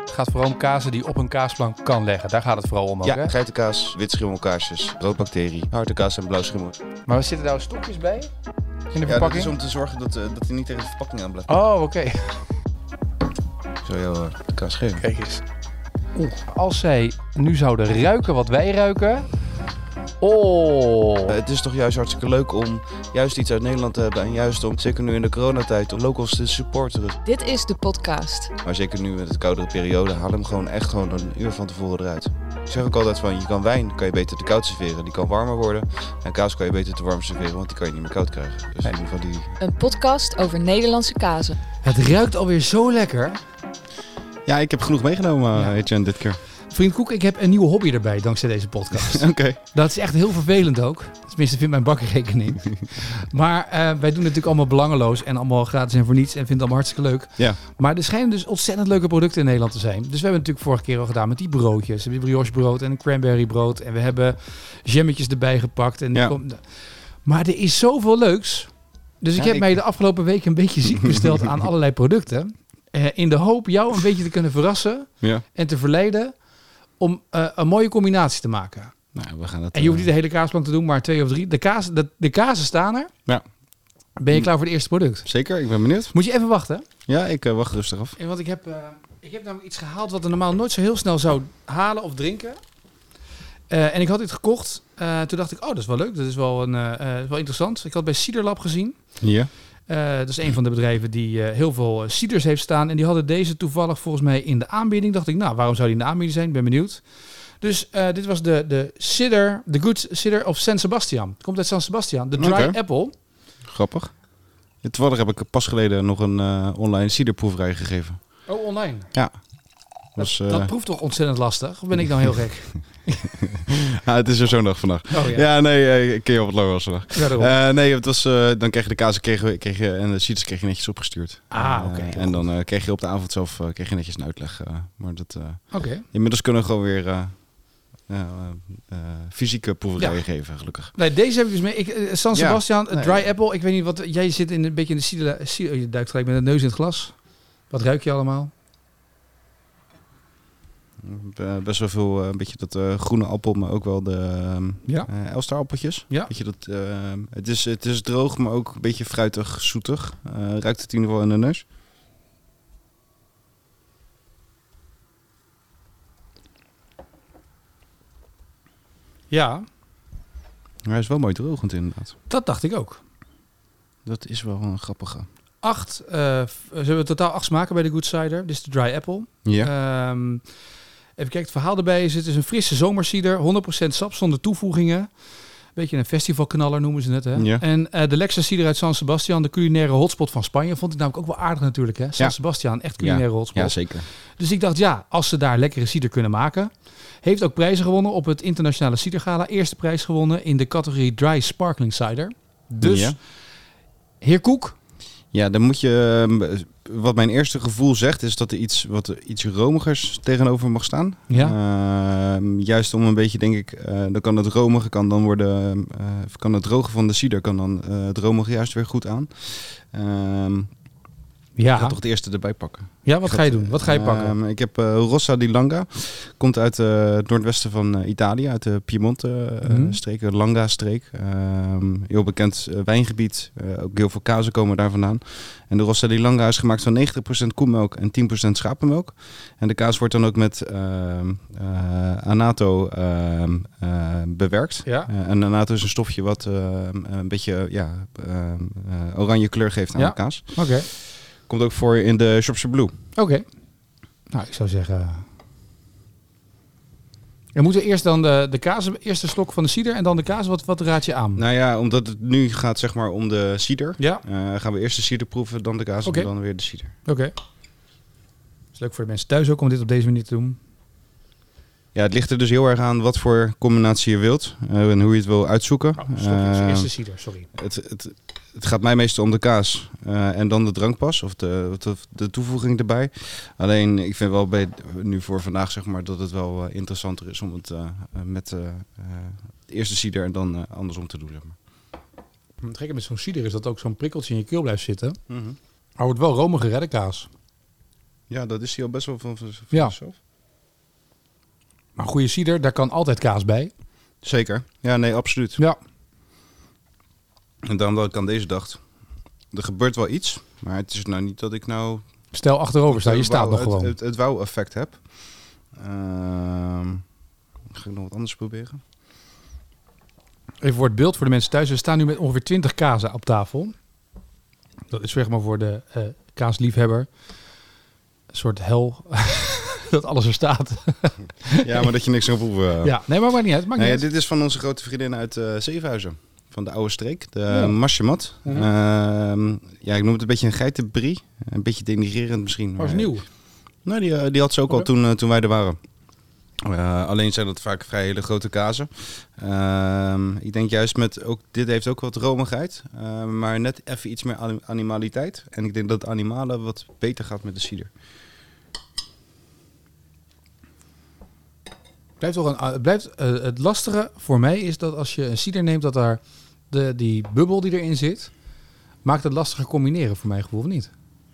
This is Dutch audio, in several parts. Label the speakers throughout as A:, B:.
A: Het gaat vooral om kazen die op een kaasplank kan leggen. Daar gaat het vooral om ook, hè?
B: Ja, geitenkaas, wit schimmelkaarsjes, roodbacterie, harde kaas en blauw schimmel.
A: Maar zitten daar stokjes bij? In de
B: Ja, dat
A: verpakking?
B: is om te zorgen dat, eh, dat hij niet tegen de verpakking aan blijft.
A: Oh, oké.
B: Zo, joh, eh, de kaas geven.
A: Kijk eens. Als zij nu zouden ruiken wat wij ruiken. Oh.
B: Eh, Het is toch juist hartstikke leuk om juist iets uit Nederland te hebben. En juist om, zeker nu in de coronatijd, om locals te supporteren.
C: Dit is de podcast.
B: Maar zeker nu met het koudere periode, haal hem gewoon echt gewoon een uur van tevoren eruit. Ik zeg ook altijd van, je kan wijn, kan je beter te koud serveren. Die kan warmer worden. En kaas kan je beter te warm serveren, want die kan je niet meer koud krijgen. Dus in ieder geval die...
C: Een podcast over Nederlandse kazen.
D: Het ruikt alweer zo lekker.
B: Ja, ik heb genoeg meegenomen, eh,
D: Ja.
B: Etienne, dit keer.
D: Vriend Koek, ik heb een nieuwe hobby erbij dankzij deze podcast.
B: Oké.
D: Dat is echt heel vervelend ook. Tenminste, vindt mijn bakrekening. maar eh, wij doen natuurlijk allemaal belangeloos en allemaal gratis en voor niets. En vinden het allemaal hartstikke leuk.
B: Ja.
D: Maar er schijnen dus ontzettend leuke producten in Nederland te zijn. Dus we hebben natuurlijk vorige keer al gedaan met die broodjes. We hebben brioche brood en een cranberry brood. En we hebben jammetjes erbij gepakt. En
B: Ja.
D: kom- Maar er is zoveel leuks. Dus ik
B: Ja,
D: heb
B: ik-
D: mij de afgelopen week een beetje ziek besteld aan allerlei producten. Eh, in de hoop jou een beetje te kunnen verrassen
B: Ja.
D: en te verleiden om eh, een mooie combinatie te maken.
B: Nou, we gaan het...
D: En je hoeft niet de hele kaasplank te doen, maar twee of drie. De, kaas, de, de kazen staan er.
B: Ja.
D: Ben je klaar voor het eerste product?
B: Zeker, ik ben benieuwd.
D: Moet je even wachten.
B: Ja, ik wacht rustig af.
D: Eh, Want ik heb, eh, ik heb namelijk iets gehaald wat ik normaal nooit zo heel snel zou halen of drinken. Eh, en ik had dit gekocht. Eh, toen dacht ik, oh, dat is wel leuk. Dat is wel, een, eh, eh, wel interessant. Ik had bij Cedar Lab gezien.
B: Ja.
D: Eh, dat is een van de bedrijven die eh, heel veel eh, ciders heeft staan. En die hadden deze toevallig volgens mij in de aanbieding. Dacht ik, nou, waarom zou die in de aanbieding zijn? Ik ben benieuwd. Dus eh, dit was de, de cider, de good cider of San Sebastian. Komt uit San Sebastian. De dry
B: Oké.
D: apple.
B: Grappig. Ja, Toevallig heb ik pas geleden nog een eh, online ciderproeverij gegeven.
D: Oh, online.
B: Dus,
D: dat, dat proeft toch ontzettend lastig? Of ben ik nou heel gek?
B: ah, het is er zo'n dag vandaag.
D: Oh
B: Ja,
D: ja.
B: nee, eh, ik keer op het logo als vandaag.
D: Ja, daarom.
B: Eh, nee, het was, eh, dan kreeg je de kaas kreeg, je- kreeg je, en de ciders kreeg je netjes opgestuurd.
D: Ah, oké.
B: Eh,
D: Heel
B: en dan eh, kreeg je op de avond zelf eh, kreeg je netjes een uitleg. eh, maar dat, eh,
D: Oké.
B: inmiddels kunnen we gewoon weer eh, eh, eh, fysieke proeverijen
D: Ja.
B: geven, gelukkig.
D: Nee, deze heb ik dus mee. Ik, eh, San
B: Ja.
D: Sebastian, eh,
B: Nee.
D: dry apple. Ik weet niet wat... Jij zit in een beetje in de cider... cider- oh, je duikt gelijk met de neus in het glas. Wat ruik je allemaal?
B: Eh, best wel veel, eh, een beetje dat eh, groene appel, maar ook wel de ehm,
D: Ja.
B: eh, Elsterappeltjes.
D: Ja.
B: Weet je, dat, ehm, het, is, het is droog, maar ook een beetje fruitig, zoetig. Eh, ruikt het in ieder geval in de neus.
D: Ja,
B: Maar hij is wel mooi drogend inderdaad.
D: dat dacht ik ook.
B: Dat is wel een grappige.
D: acht, eh, f- ze hebben totaal acht smaken bij de Good Cider. Dit is de Dry Apple.
B: Ja.
D: Ehm, even kijken, het verhaal erbij is, het is een frisse zomercider. 100% sap zonder toevoegingen. Beetje een festivalknaller noemen ze het. Hè?
B: Ja.
D: En eh, de lekkerste cider uit San Sebastian, de culinaire hotspot van Spanje. Vond ik namelijk ook wel aardig natuurlijk. Hè? San
B: Ja.
D: Sebastian, echt culinaire hotspot.
B: ja, zeker.
D: Dus ik dacht, ja, als ze daar lekkere cider kunnen maken. Heeft ook prijzen gewonnen op het internationale cidergala. Eerste prijs gewonnen in de categorie Dry Sparkling Cider. Dus,
B: Ja.
D: heer Koek,
B: Ja, dan moet je. ehm, Wat mijn eerste gevoel zegt, is dat er iets, wat, iets romigers tegenover mag staan.
D: ja.
B: Ehm, juist om een beetje, denk ik, eh, dan kan het romige kan dan worden, eh, kan het droge van de cider kan dan eh, het romige juist weer goed aan. Ehm,
D: ja.
B: Ik ga toch het eerste erbij pakken.
D: Ja, wat
B: Ik
D: ga je
B: het,
D: doen? Wat ga je pakken?
B: Ehm, ik heb eh, Rossa di Langa. Komt uit eh, het noordwesten van eh, Italië, uit de
D: Mhm.
B: Piemonte-streek, de eh, Langa-streek. Ehm, heel bekend eh, wijngebied. Eh, ook heel veel kazen komen daar vandaan. En de Rossa di Langa is gemaakt van 90% koemelk en 10% schapenmelk. En de kaas wordt dan ook met ehm, eh, anato ehm, eh, bewerkt.
D: ja.
B: Eh, en anato is een stofje wat ehm, een beetje ja, ehm, eh, oranje kleur geeft aan
D: Ja.
B: de kaas.
D: Oké.
B: Komt ook voor in de Shropshire Blue.
D: Oké. Nou, ik zou zeggen. We moeten eerst dan de, de kaas, eerst de slok van de cider en dan de kaas. Wat, wat raad je aan?
B: Nou ja, omdat het nu gaat zeg maar om de cider.
D: Ja,
B: eh, gaan we eerst de cider proeven, dan de kaas
D: Oké.
B: en dan weer de cider.
D: oké. Is leuk voor de mensen thuis ook om dit op deze manier te doen.
B: Ja, het ligt er dus heel erg aan wat voor combinatie je wilt eh, en hoe je het wil uitzoeken.
D: Oh, slokje, dus
B: Eh,
D: eerst de cider, sorry.
B: het, het, het gaat mij meestal om de kaas eh, en dan de drankpas of de, de, de toevoeging erbij. Alleen ik vind wel bij, nu voor vandaag zeg maar dat het wel eh, interessanter is om het eh, eh, met eh eh, eerst de cider en dan eh, andersom te doen. Zeg maar.
D: Het gekke met zo'n cider is dat ook zo'n prikkeltje in je keel blijft zitten. Maar het wordt wel romige reddenkaas.
B: Ja, dat is hij al best wel van, van van
D: Ja.
B: zichzelf.
D: Maar goede cider, daar kan altijd kaas bij.
B: Zeker. Ja, nee, absoluut.
D: Ja.
B: En dan dat ik aan deze dacht. Er gebeurt wel iets, maar het is nou niet dat ik nou
D: Stel achterover staan, je
B: het
D: staat
B: wauw-
D: nog
B: het-
D: gewoon.
B: Het, het, wauw-effect heb. Ehm, ga ik nog wat anders proberen?
D: Even voor het beeld voor de mensen thuis. We staan nu met ongeveer 20 kazen op tafel. Dat is zeg maar voor de eh, kaasliefhebber. Een soort hel. dat alles er staat.
B: Ja, maar dat je niks kan proeven.
D: Ja, nee, maar maakt niet uit. Maakt
B: Nou ja,
D: niet uit.
B: dit is van onze grote vriendin uit eh Zevenhuizen. Van de oude streek, de
D: Ja.
B: ja. Masjemat.
D: Mhm.
B: Ehm, ja, ik noem het een beetje een geitenbrie. Een beetje denigrerend misschien.
D: Maar is
B: maar-
D: nieuw.
B: Nou, die, eh, die had ze ook
D: Oké.
B: al toen, eh, toen wij er waren. Eh, alleen zijn dat vaak vrij hele grote kazen. Ehm, ik denk juist met ook, dit heeft ook wat romigheid, eh, maar net even iets meer anim- animaliteit. En ik denk dat animalen wat beter gaat met de cider.
D: Blijft toch een, ah, het, blijft, eh, het lastige voor mij is dat als je een cider neemt, dat daar de, die bubbel die erin zit, maakt het lastiger combineren voor mijn gevoel, of niet?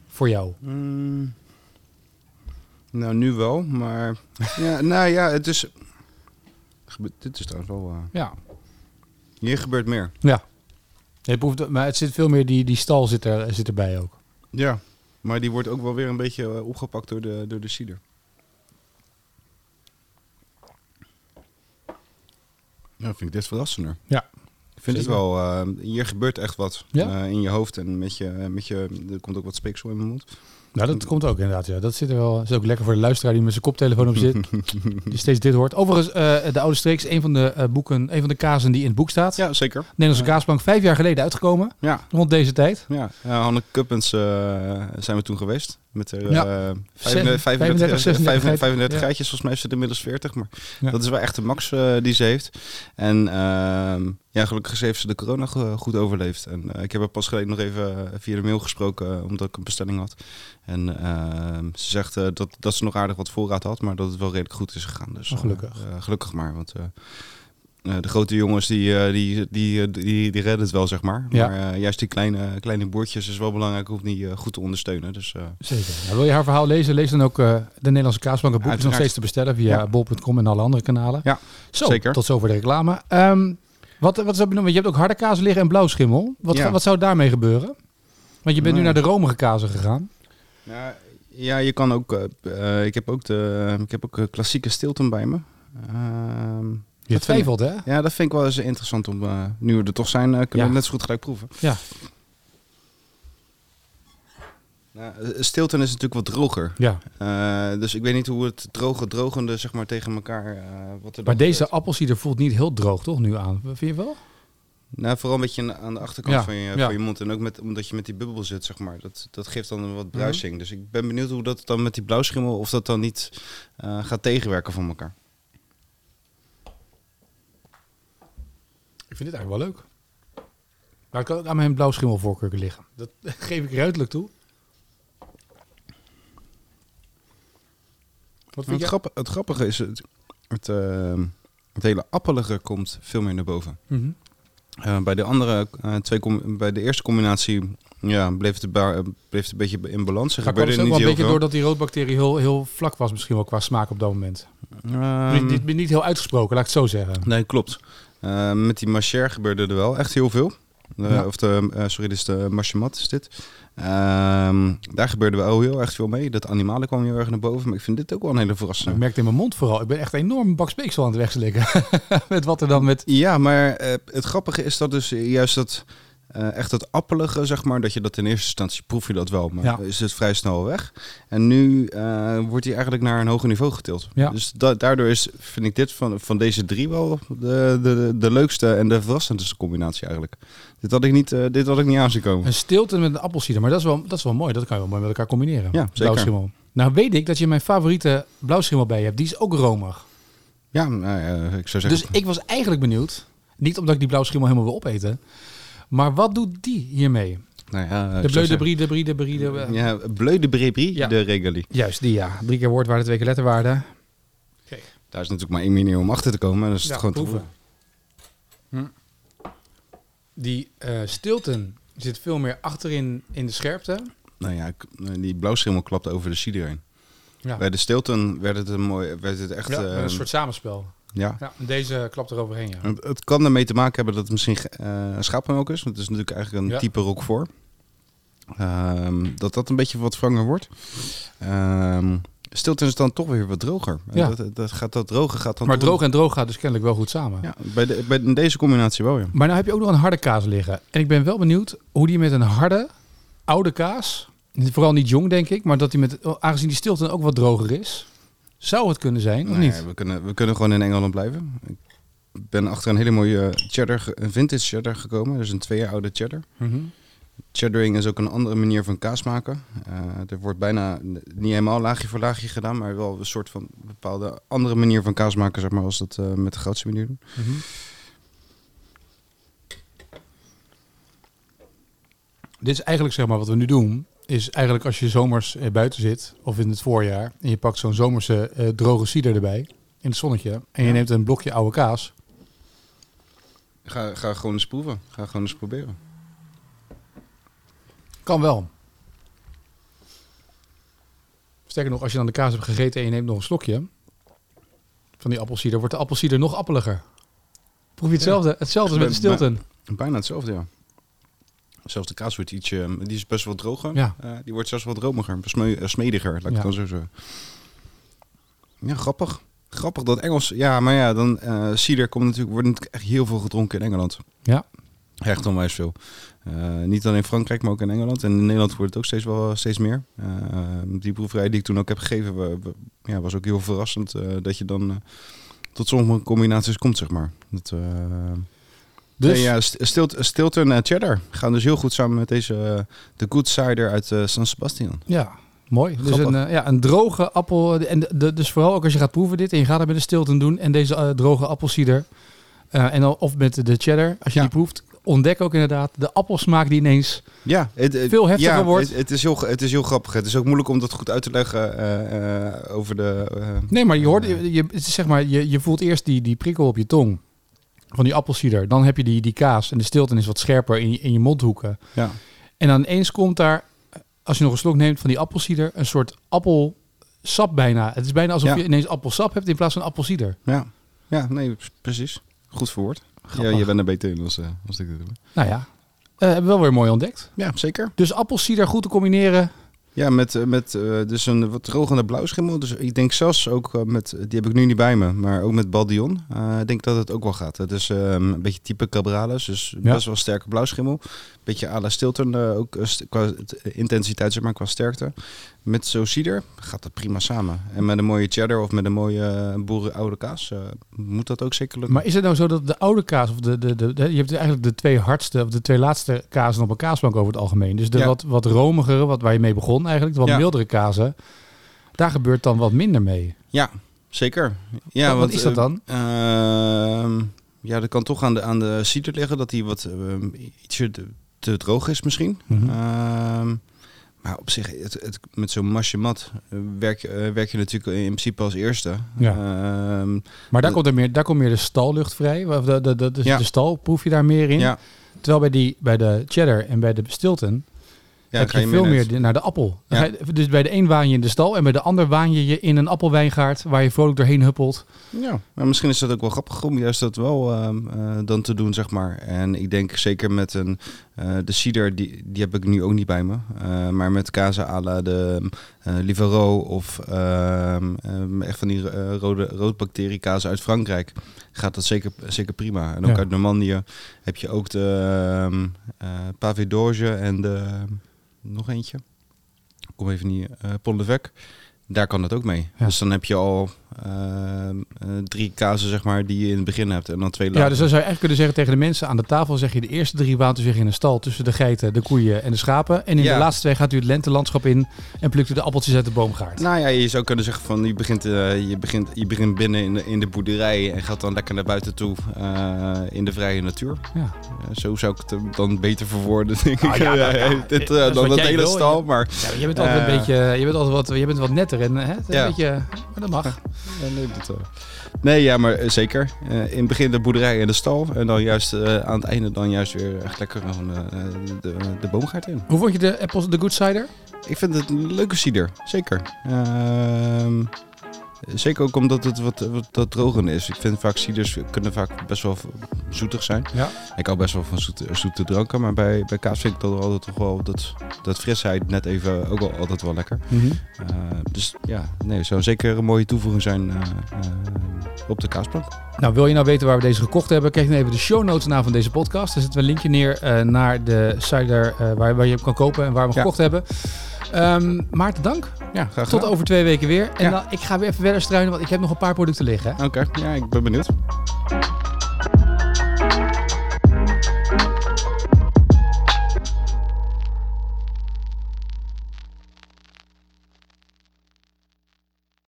D: Voor jou.
B: Mm. Nou, nu wel, maar. ja, nou ja, het is. Gebe- Dit is trouwens wel. eh,
D: Ja.
B: hier gebeurt meer.
D: Ja. Je proeft, maar het zit veel meer, die, die stal zit, er, zit erbij ook.
B: Ja. Maar die wordt ook wel weer een beetje eh, opgepakt door de, door de cider. Ja, vind ik dit verrassender.
D: Ja.
B: Ik vind
D: Zeker.
B: het wel, eh, hier gebeurt echt wat
D: Ja?
B: eh, in je hoofd en met je, met je, er komt ook wat speeksel in mijn mond.
D: Nou, dat komt ook inderdaad. Ja. Dat zit er wel. is ook lekker voor de luisteraar die met zijn koptelefoon op zit. die steeds dit hoort. Overigens, eh, De Oude Streek is een van de eh, boeken, een van de kazen die in het boek staat.
B: Ja, zeker.
D: Nederlandse Kaasplank, vijf jaar geleden uitgekomen.
B: Ja,
D: Rond deze tijd.
B: ja. Eh, Hanne Cuppens eh, zijn we toen geweest. Met haar, eh,
D: Ja.
B: 35,
D: 35,
B: 35,
D: 36
B: 35,
D: Ja.
B: geitjes. Volgens mij is het inmiddels 40. Maar
D: Ja.
B: dat is wel echt de max eh, die ze heeft. En ehm, ja, gelukkig heeft ze de corona go- goed overleefd. En eh, ik heb haar pas geleden nog even via de mail gesproken. eh, omdat ik een bestelling had. En ehm, ze zegt eh, dat, dat ze nog aardig wat voorraad had. Maar dat het wel redelijk goed is gegaan. Dus
D: Oh,
B: eh,
D: gelukkig.
B: eh, gelukkig maar. Want eh, eh, de grote jongens die, eh, die, die, eh, die, die redden het wel, zeg maar.
D: Ja.
B: Maar eh, juist die kleine, kleine boertjes is wel belangrijk om die eh, goed te ondersteunen. Dus eh,
D: Zeker. Nou, wil je haar verhaal lezen? Lees dan ook eh, de Nederlandse Kaasplank. Het boek is nog
B: Uiteraard.
D: steeds te bestellen via
B: Ja.
D: bol.com en alle andere kanalen.
B: Ja,
D: Zo,
B: zeker.
D: tot zover de reclame. Ehm, wat, wat is dat benoemd? Je hebt ook harde kaas liggen en blauwschimmel. Wat,
B: Ja.
D: wat zou daarmee gebeuren? Want je bent nu
B: Nou.
D: naar de romige kazen gegaan.
B: Ja, ja, je kan ook. eh, eh, ik heb ook de. Ik heb ook eh, klassieke Stilton bij me.
D: Je
B: Ehm, dat vind ik-
D: twijfelt, hè?
B: ja, dat vind ik wel eens interessant om. eh, nu we er toch zijn, eh, kunnen we
D: Ja.
B: het net zo goed gelijk proeven.
D: Ja.
B: Nou, eh, Stilton is natuurlijk wat droger.
D: Ja,
B: Eh, dus ik weet niet hoe het droge, drogende zeg maar tegen elkaar. eh, wat er dan
D: maar deze
B: gebeurt.
D: appelsieder voelt niet heel droog, toch, nu aan? Vind je wel?
B: Nou, vooral een beetje aan de achterkant
D: Ja,
B: van, je,
D: ja.
B: van je mond. En ook met, omdat je met die bubbel zit, zeg maar. Dat, dat geeft dan een
D: Mhm.
B: wat bruising. Dus ik ben benieuwd hoe dat dan met die blauwschimmel... of dat dan niet eh, gaat tegenwerken van elkaar.
D: Ik vind dit eigenlijk wel leuk. Maar ik kan ook aan mijn blauwschimmelvoorkeur liggen. Dat geef ik ruidelijk toe. Wat
B: Het,
D: vind je?
B: grappi- het grappige is, het, het, eh, het hele appelige komt veel meer naar boven.
D: Mhm.
B: Eh, bij, de andere, eh, twee com- bij de eerste combinatie ja, bleef, het een ba- bleef het een beetje in balans. Er
D: Maar kwam het ook
B: gebeurde niet
D: wel een
B: heel
D: beetje
B: veel.
D: doordat die roodbacterie heel, heel vlak was misschien wel qua smaak op dat moment.
B: Ehm,
D: niet, niet, niet heel uitgesproken, laat ik het zo zeggen.
B: Nee, klopt. Eh, met die Macher gebeurde er wel echt heel veel. Eh,
D: Ja.
B: Of de, eh, sorry, dit is de Machemat, is dit. Ehm, daar gebeurde wel heel erg veel mee. Dat animalen kwam heel erg naar boven. Maar ik vind dit ook wel een hele
D: Ik
B: verrassing.
D: merkte in mijn mond vooral. Ik ben echt enorm een bak speeksel aan het wegslikken. met wat er dan met...
B: Ja, maar eh, het grappige is dat dus juist dat... eh, echt dat appelige, zeg maar, dat je dat in eerste instantie proef je dat wel, maar
D: Ja.
B: is het vrij snel weg. En nu eh, wordt hij eigenlijk naar een hoger niveau getild.
D: Ja.
B: Dus da- daardoor is, vind ik dit van, van deze drie wel de, de, de leukste en de verrassendste combinatie eigenlijk. Dit had ik niet, eh, dit had ik niet aan zien komen.
D: Een stilte met een appelsieder. Maar dat is, wel, dat is wel mooi. Dat kan je wel mooi met elkaar combineren.
B: Ja, zeker.
D: Blauwschimmel. Nou weet ik dat je mijn favoriete blauwschimmel bij je hebt. Die is ook romig.
B: Ja, nou ja, ik zou zeggen.
D: Dus ik was eigenlijk benieuwd. Niet omdat ik die blauwschimmel helemaal wil opeten. Maar wat doet die hiermee?
B: nou ja,
D: De
B: ik zou
D: bleu, de
B: zeggen-
D: brie, de brie, de brie, de...
B: Ja, bleu de Brébri,
D: Ja.
B: de Regali.
D: Juist, die ja. Drie keer woordwaarde, twee keer letterwaarde.
B: Daar is
D: nou,
B: natuurlijk maar één manier om achter te komen. en Dat is het gewoon te
D: proeven. Hm. die eh Stilton zit veel meer achterin in de scherpte.
B: Nou ja, k- die blauwschimmel klapt over de cider heen.
D: Ja.
B: Bij de Stilton werd het, een mooi, werd het echt...
D: Ja,
B: eh,
D: met een soort samenspel.
B: ja.
D: Ja, en deze klapt er overheen, ja.
B: Het, het kan ermee te maken hebben dat het misschien eh schapenmelk is. Want het is natuurlijk eigenlijk een
D: Ja.
B: type rok voor. Ehm, dat dat een beetje wat franger wordt. Ehm Stilton is dan toch weer wat droger.
D: Ja.
B: En Dat, dat, gaat, dat droge gaat dan
D: Maar
B: toch-
D: droog en droog gaat dus kennelijk wel goed samen.
B: Ja, bij, de, bij in deze combinatie wel, ja.
D: Maar nou heb je ook nog een harde kaas liggen. En ik ben wel benieuwd hoe die met een harde, oude kaas, vooral niet jong denk ik, maar dat die met, aangezien die stilte ook wat droger is, zou het kunnen zijn, of
B: Nou ja,
D: niet?
B: we, kunnen, we kunnen gewoon in Engeland blijven. Ik ben achter een hele mooie eh, cheddar, ge- een vintage cheddar gekomen. Dus een twee jaar oude cheddar.
D: Mhm.
B: Cheddaring is ook een andere manier van kaas maken. Eh, er wordt bijna n- niet helemaal laagje voor laagje gedaan, maar wel een soort van bepaalde andere manier van kaas maken, zeg maar, als dat eh, met de goudse manier doen.
D: Mhm. Dit is eigenlijk zeg maar wat we nu doen. Is eigenlijk als je zomers eh, buiten zit of in het voorjaar. En je pakt zo'n zomerse eh, droge cider erbij in het zonnetje. En je
B: Ja.
D: neemt een blokje oude kaas.
B: Ga, ga gewoon eens proeven. Ga gewoon eens proberen.
D: Kan wel. Sterker nog, als je dan de kaas hebt gegeten en je neemt nog een slokje van die appelsieder, wordt de appelsieder nog appeliger. Proef je hetzelfde? Hetzelfde als met de
B: Bij- bij-
D: stilten.
B: Bijna hetzelfde, ja. Zelfs de kaas wordt ietsje, eh, die is best wel droger.
D: Ja.
B: Eh, die wordt zelfs wat romiger, smeu- eh, smediger, laat ik
D: Ja.
B: het dan zo zeggen. Ja, grappig. Grappig dat Engels, ja, maar ja, dan eh cider komt natuurlijk, wordt natuurlijk echt heel veel gedronken in Engeland.
D: Ja.
B: Echt onwijs veel. Eh, niet alleen in Frankrijk, maar ook in Engeland. En in Nederland wordt het ook steeds, wel, steeds meer. Eh, die proeverij die ik toen ook heb gegeven, wa- wa- ja, was ook heel verrassend. eh, dat je dan eh, tot sommige combinaties komt, zeg maar. Dat, eh,
D: Dus
B: Nee, ja, St- Stilt- Stilton en Cheddar gaan dus heel goed samen met deze eh, de Good Cider uit eh, San Sebastian.
D: Ja, mooi. Dus
B: Grappig.
D: een, eh, ja, een droge appel. En de, de- dus vooral ook als je gaat proeven dit en je gaat het met de stilton doen en deze eh, droge appelsieder. eh, en dan, of met de cheddar, als je
B: Ja.
D: die proeft, ontdek ook inderdaad de appelsmaak die ineens...
B: Ja, het, het-
D: Veel heftiger
B: ja,
D: wordt.
B: Het, het is heel, ge- het is heel grappig. Het is ook moeilijk om dat goed uit te leggen eh, eh, over de. eh,
D: Nee, maar je hoort, je, je- het is zeg maar, je, je voelt eerst die, die prikkel op je tong van die appelsieder. Dan heb je die, die kaas en de stilton is wat scherper in je, in je mondhoeken.
B: ja.
D: En dan ineens komt daar, eh, als je nog een slok neemt van die appelsieder, een soort appelsap bijna. Het is bijna alsof
B: Ja.
D: je ineens appelsap hebt in plaats van appelsieder.
B: Ja. ja, nee, p- precies. Goed verwoord. Ja,
D: Grappig.
B: je bent er beter in als, eh, als ik dit doe.
D: Nou ja, eh, hebben we wel weer mooi ontdekt.
B: Ja, zeker.
D: Dus appelsieder goed te combineren.
B: Ja, met, eh, met eh, dus een wat drogende blauwschimmel. Dus ik denk zelfs ook eh, met, die heb ik nu niet bij me, maar ook met Baldion. Eh, ik denk dat het ook wel gaat. Het is eh, een beetje type Cabrales, dus
D: Ja.
B: best wel sterke blauwschimmel. Beetje à la Stilton, eh, ook eh, st- qua t- intensiteit, zeg maar, qua sterkte. Met zo'n cider gaat dat prima samen. En met een mooie cheddar of met een mooie eh, boeren oude kaas eh, moet dat ook zeker lukken.
D: Maar is het nou zo dat de oude kaas, of de, de, de, de- je hebt eigenlijk de twee hardste, of de twee laatste kazen op een kaasbank over het algemeen. Dus de
B: Ja.
D: wat, wat romigere, wat, waar je mee begon eigenlijk, de wat
B: Ja.
D: mildere kazen, daar gebeurt dan wat minder mee.
B: Ja, zeker. Ja,
D: Wat- wat
B: want,
D: is dat
B: eh,
D: dan?
B: Ehm, ja, dat kan toch aan de, aan de cider liggen dat hij wat ehm, ietsje te, te droog is misschien.
D: Mhm.
B: Ehm, maar op zich, het, het, met zo'n masje mat eh, werk, je- eh, werk je natuurlijk in principe als eerste.
D: Ja.
B: Ehm,
D: Maar daar
B: De-
D: komt, er meer, daar komt meer de stallucht vrij, of de, de, de, de,
B: Ja.
D: de stal proef je daar meer in.
B: ja,
D: Terwijl bij, die, bij de cheddar en bij de stilton
B: ja,
D: heb
B: ga
D: je
B: je
D: veel
B: mee
D: meer
B: net.
D: de- naar de appel. Dan
B: Ja.
D: ga je- dus bij de een waan je in de stal en bij de ander waan je je in een appelwijngaard waar je vrolijk doorheen huppelt.
B: Ja, maar misschien is dat ook wel grappig om juist dat wel ehm, eh, dan te doen, zeg maar. En ik denk zeker met een, eh, de cider, die, die heb ik nu ook niet bij me. Eh, maar met kazen à la de eh Livaro of ehm, ehm, echt van die eh, rode roodbacteriekazen uit Frankrijk, gaat dat zeker, zeker prima. En ook
D: Ja.
B: uit Normandië heb je ook de ehm eh, pavé d'orge en de, nog eentje, Ik kom even niet, eh Pont de Vec. Daar kan dat ook mee.
D: Ja.
B: Dus dan heb je al ehm, eh, drie kazen, zeg maar, die je in het begin hebt. En dan twee later.
D: Ja, dus dan zou je echt kunnen zeggen tegen de mensen aan de tafel zeg je de eerste drie waten zich in een stal tussen de geiten, de koeien en de schapen. En in
B: Ja.
D: de laatste twee gaat u het lentelandschap in en plukt u de appeltjes uit de boomgaard.
B: Nou ja, je zou kunnen zeggen van je begint, eh, je begint, je begint binnen in de, in de boerderij en gaat dan lekker naar buiten toe eh, in de vrije natuur.
D: Ja.
B: Ja, zo zou ik het hem dan beter verwoorden, denk ik.
D: Ah, ja, nou ja,
B: Dit, eh,
D: dat is
B: dan
D: wat
B: dat
D: jij
B: hele
D: wil.
B: stal, maar
D: Ja, je bent altijd
B: Eh.
D: een beetje, je bent altijd wat, je bent wat netter en hè, het is
B: Ja.
D: een beetje, maar dat mag.
B: En, eh, dat, eh, nee, ja, maar eh, zeker. Eh, in het begin de boerderij en de stal. En dan juist eh, aan het einde dan juist weer echt lekker een, eh, de, de boomgaard in.
D: Hoe vond je de apples de good cider?
B: Ik vind het een leuke cider, zeker. Ehm, zeker ook omdat het wat, wat, wat droger is. Ik vind vaak ciders kunnen vaak best wel zoetig zijn.
D: Ja.
B: Ik hou best wel van zoete, zoete dranken, maar bij, bij kaas vind ik dat er altijd toch wel dat, dat frisheid net even ook wel altijd wel lekker. Eh, dus ja, nee, het zou zeker een mooie toevoeging zijn eh, eh, op de kaasplank.
D: Nou, wil je nou weten waar we deze gekocht hebben? Kijk dan even de show notes na van deze podcast. Daar zetten we een linkje neer eh, naar de cider eh, waar, waar je hem kan kopen en waar we hem
B: Ja.
D: gekocht hebben. Ehm, Maarten, dank.
B: Ja, graag
D: Tot over twee weken weer. En
B: Ja.
D: dan, ik ga weer even verder struinen, want ik heb nog een paar producten liggen. hè.
B: Oké, ja, ik ben benieuwd.